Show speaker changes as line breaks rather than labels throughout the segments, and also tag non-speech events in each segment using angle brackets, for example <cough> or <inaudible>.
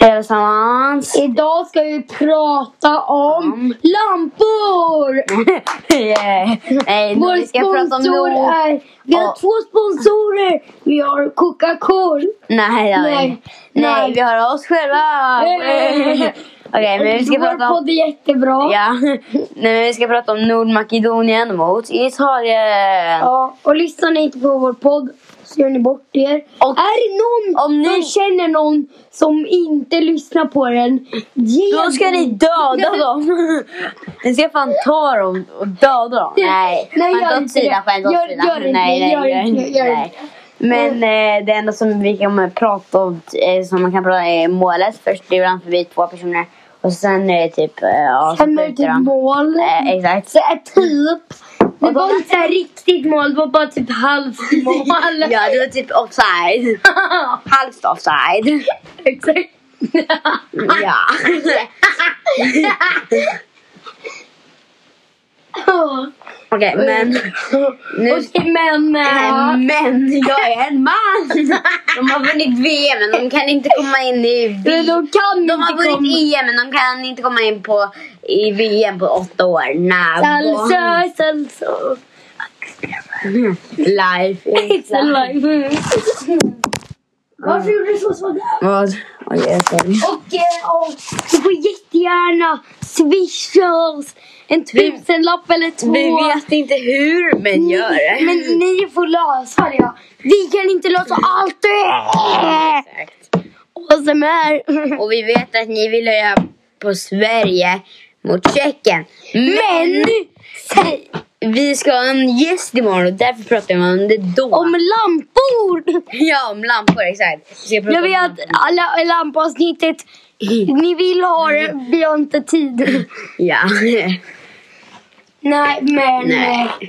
Hej
<laughs>
allesammans!
Idag ska vi prata om
Om.
lampor!
yeah. Nej,
Vår
Mm. vi ska prata om
sponsor
nog.
är... Vi har
Ja.
två sponsorer! Vi har Coca-Cola.
Nej, det har vi
Nej.
inte. Nej,
Nej.
vi har oss
<laughs>
själva.
Eh.
Okej, men vi ska
Vår
prata om...
podd är jättebra.
Ja. <laughs> Nej, men vi ska prata om Nordmakedonien mot Italien.
Ja, Och lyssnar ni inte på vår podd så gör ni bort er.
Och-
är det någon
om ni-
som känner någon som inte lyssnar på den, ge
Då ska ni döda <laughs> dem. ni ska fan ta dem och döda dem. Nej,
Nej,
skämt
gör
åt
inte
sidan,
det.
skämt åt
Gör-
sidan.
gör inte
nej,
det,
nej,
gör inte det, Mm. gör
nej.
inte
Men eh, det enda som vi kan prata om, eh, som man kan prata om är målet. Först driver han förbi två personer och sen är det typ... Eh, ja, så
Sen är det
skjuter
typ
han.
mål.
Eh, exakt.
Så är typ. Det
Och då-
var inte riktigt mål, det var bara typ halvt
<laughs>
mål.
Ja, det var typ offside.
<laughs>
Halvt offside.
Exakt.
ja. <laughs> Okej,
Mm.
men... Nu...
Okej, men...
Nej,
eh,
Men jag är en man! <laughs> De har vunnit VM men de kan inte komma in i
men
VM.
de kan
De
inte
har
komma.
vunnit EM men de kan inte komma in på, i VM på åtta år.
Alltså,
Nah,
Salsa, salsa.
Life is
alltså. It's
life.
alive. Varför gjorde du så sådär?
Vad? Oj, jag är sorry.
Och, eh, och du får jättegärna swisha oss en
Vi-
tusenlapp eller två.
Vi vet inte hur men gör det.
Mm, Men ni får lösa det. Vi kan inte lösa allt det.
Exakt.
Och som är...
Och vi vet att ni vill höja på Sverige mot Tjeckien.
<laughs> Men!
Mm.
Säg
vi ska ha en gäst imorgon och därför pratar vi om det då.
om lampor!
Ja, om lampor, exakt. Vi ska prata
Jag
om
vet
lampor.
alla lampavsnittet. Ni vill ha det, vi har inte tid.
Ja, <laughs>
Nej, men...
Nej.
eh,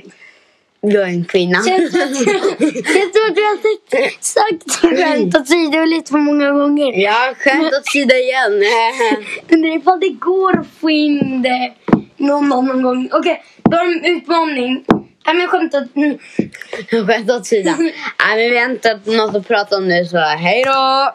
jag är en kvinna.
Känns som att, känns som att vi har sagt- sagt skämt åt sidor lite för många gånger.
Ja, skämt åt sidan igen.
Undrar ifall det går att få in det någon annan gång. Okej, då har de en utmaning. Nej, men jag skämtar. Mm.
Skämt åt sidan. Nej, men vi har inte något att prata om nu så hej då!